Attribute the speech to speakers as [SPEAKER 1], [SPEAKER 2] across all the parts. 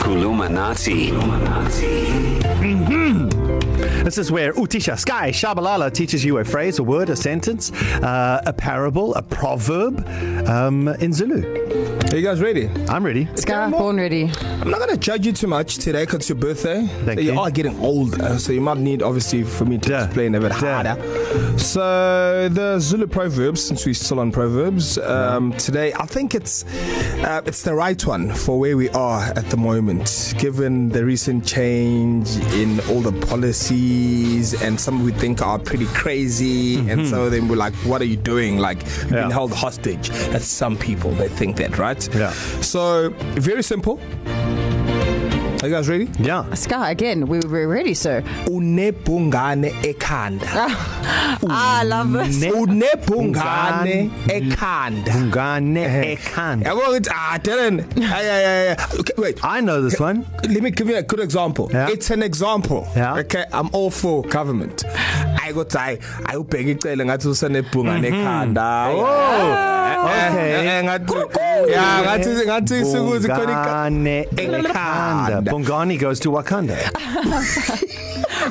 [SPEAKER 1] Kulumanati.
[SPEAKER 2] This is where Utisha Sky Shabalala teaches you a phrase, a word, a sentence, uh, a parable, a proverb um, in Zulu.
[SPEAKER 3] Are you guys ready?
[SPEAKER 2] I'm ready.
[SPEAKER 3] Sky, born
[SPEAKER 4] ready.
[SPEAKER 3] I'm not going to judge you too much today because it's your birthday.
[SPEAKER 2] Thank
[SPEAKER 3] you.
[SPEAKER 2] you.
[SPEAKER 3] You are getting older, so you might need, obviously, for me to
[SPEAKER 2] Duh.
[SPEAKER 3] Duh. explain a bit
[SPEAKER 2] Duh.
[SPEAKER 3] Duh. harder. So, the Zulu proverbs, since we're still on proverbs, um, today, I think it's uh, it's the right one for where we are at the moment, given the recent change in all the policies, and some we think are pretty crazy, mm-hmm. and some of them were like, what are you doing? Like, you've yeah.
[SPEAKER 2] Yeah.
[SPEAKER 3] been held hostage. That's some people, they think that, right?
[SPEAKER 2] Yeah.
[SPEAKER 3] So very simple. Are you guys ready?
[SPEAKER 2] Yeah.
[SPEAKER 4] Sky, again, we were ready, sir.
[SPEAKER 3] Unebungane ekhanda.
[SPEAKER 4] I Ah, love this.
[SPEAKER 3] Unebungane ekhanda.
[SPEAKER 2] Ngane ekhanda.
[SPEAKER 3] Yabo ukuthi ah Darren. Ay ay ay. ay. Okay, wait. Ah,
[SPEAKER 2] I know this one.
[SPEAKER 3] Let me give you a good example.
[SPEAKER 2] Yeah.
[SPEAKER 3] It's an example.
[SPEAKER 2] Yeah.
[SPEAKER 3] Okay, I'm all for government. Hayi kodwa hayi ayubheka icele ngathi usenebhungane ekhanda. Oh.
[SPEAKER 2] Mm-hmm. okay.
[SPEAKER 3] Ngathi yeah, ngathi ngathi sikuthi khona
[SPEAKER 2] Bongane
[SPEAKER 3] ikhanda.
[SPEAKER 2] ekhanda.
[SPEAKER 3] Ekhanda.
[SPEAKER 2] Bongani goes to Wakanda.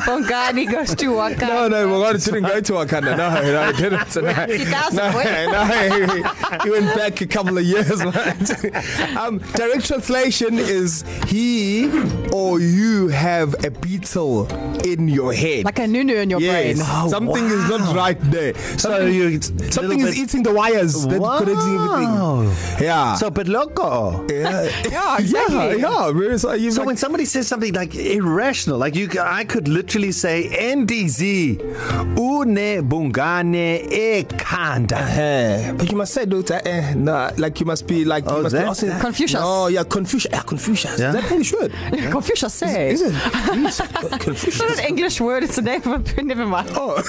[SPEAKER 4] Bongani goes to Waka.
[SPEAKER 3] No, Oh, no, Bongani didn't go to Wakanda. No, no, he didn't. No,
[SPEAKER 4] He does, boy.
[SPEAKER 3] no, no, he, he went back a couple of years. Man. Um, direct translation is he or you have a beetle in your head.
[SPEAKER 4] Like a nunu in your
[SPEAKER 3] yes,
[SPEAKER 4] brain.
[SPEAKER 2] Oh,
[SPEAKER 3] something wow. is not right there.
[SPEAKER 2] So
[SPEAKER 3] Something,
[SPEAKER 2] you
[SPEAKER 3] something is eating the wires that wow. connects
[SPEAKER 2] Wow.
[SPEAKER 3] everything. Ah. Yeah.
[SPEAKER 2] So but loco.
[SPEAKER 3] yeah, yeah, yeah. uh, Really, so you've
[SPEAKER 2] So
[SPEAKER 3] like,
[SPEAKER 2] when somebody says something like irrational, like you, I could literally say NDZ, une bungane e ekanda.
[SPEAKER 3] Eh, but you must say those. Uh, eh, nah, like you must be like.
[SPEAKER 2] Oh,
[SPEAKER 3] you must
[SPEAKER 2] that-
[SPEAKER 3] be also,
[SPEAKER 4] Confucius.
[SPEAKER 3] No, yeah, Confucius. Yeah, Confucius.
[SPEAKER 2] Yeah.
[SPEAKER 3] Yeah. Is that English word?
[SPEAKER 4] Confucius
[SPEAKER 3] Is
[SPEAKER 4] says. It's
[SPEAKER 3] it? Jeez,
[SPEAKER 4] not
[SPEAKER 3] Confucius.
[SPEAKER 4] an English word, it's a name of a. Never mind. Oh.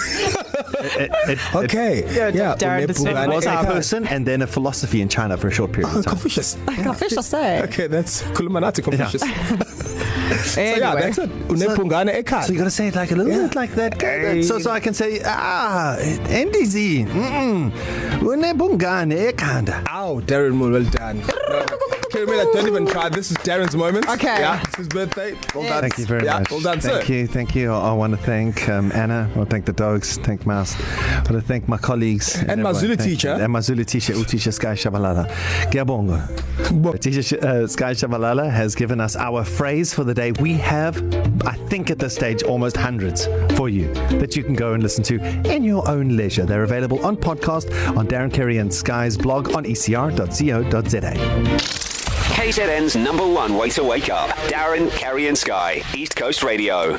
[SPEAKER 3] Okay.
[SPEAKER 4] Yeah, Darren just said
[SPEAKER 2] It was a
[SPEAKER 4] Okay.
[SPEAKER 2] person and then a philosophy in China for a short period
[SPEAKER 3] Oh,
[SPEAKER 2] of time.
[SPEAKER 3] Confucius.
[SPEAKER 4] Confucius says.
[SPEAKER 3] Okay, that's Kulumanati Confucius. Yeah. So yeah,
[SPEAKER 4] Anyway.
[SPEAKER 3] that's it.
[SPEAKER 2] So
[SPEAKER 3] Unepungane
[SPEAKER 2] you
[SPEAKER 3] ekhanda.
[SPEAKER 2] got to say it like a little yeah. bit like that.
[SPEAKER 3] Hey.
[SPEAKER 2] So so I can say ah NDZ, mm-mm, une bungane e ekanda.
[SPEAKER 3] Ow, Darren Moore, well done. Okay, Mila, don't even try. This is Darren's moment.
[SPEAKER 4] Okay.
[SPEAKER 3] Yeah, it's his birthday. Well done.
[SPEAKER 2] Thank you very
[SPEAKER 3] yeah,
[SPEAKER 2] much.
[SPEAKER 3] Well done,
[SPEAKER 2] thank
[SPEAKER 3] sir.
[SPEAKER 2] you, thank you. I, I want to thank um, Anna. I want to thank the dogs. Thank Mouse. I want to thank my colleagues
[SPEAKER 3] And my
[SPEAKER 2] everyone.
[SPEAKER 3] Zulu
[SPEAKER 2] Thank you.
[SPEAKER 3] teacher.
[SPEAKER 2] And my Zulu teacher, Utisha Sky Shabalala. Giabongo.
[SPEAKER 3] Bo-
[SPEAKER 2] Teacher Sh- uh, Sky Shabalala has given us our phrase for the day. We have, I think, at this stage, almost hundreds for you that you can go and listen to in your own leisure. They're available on podcast on Darren Kerry and Sky's blog on E ecr.co.za.
[SPEAKER 1] KZN's number one way to wake up. Darren, Kerry, and Sky. East Coast Radio.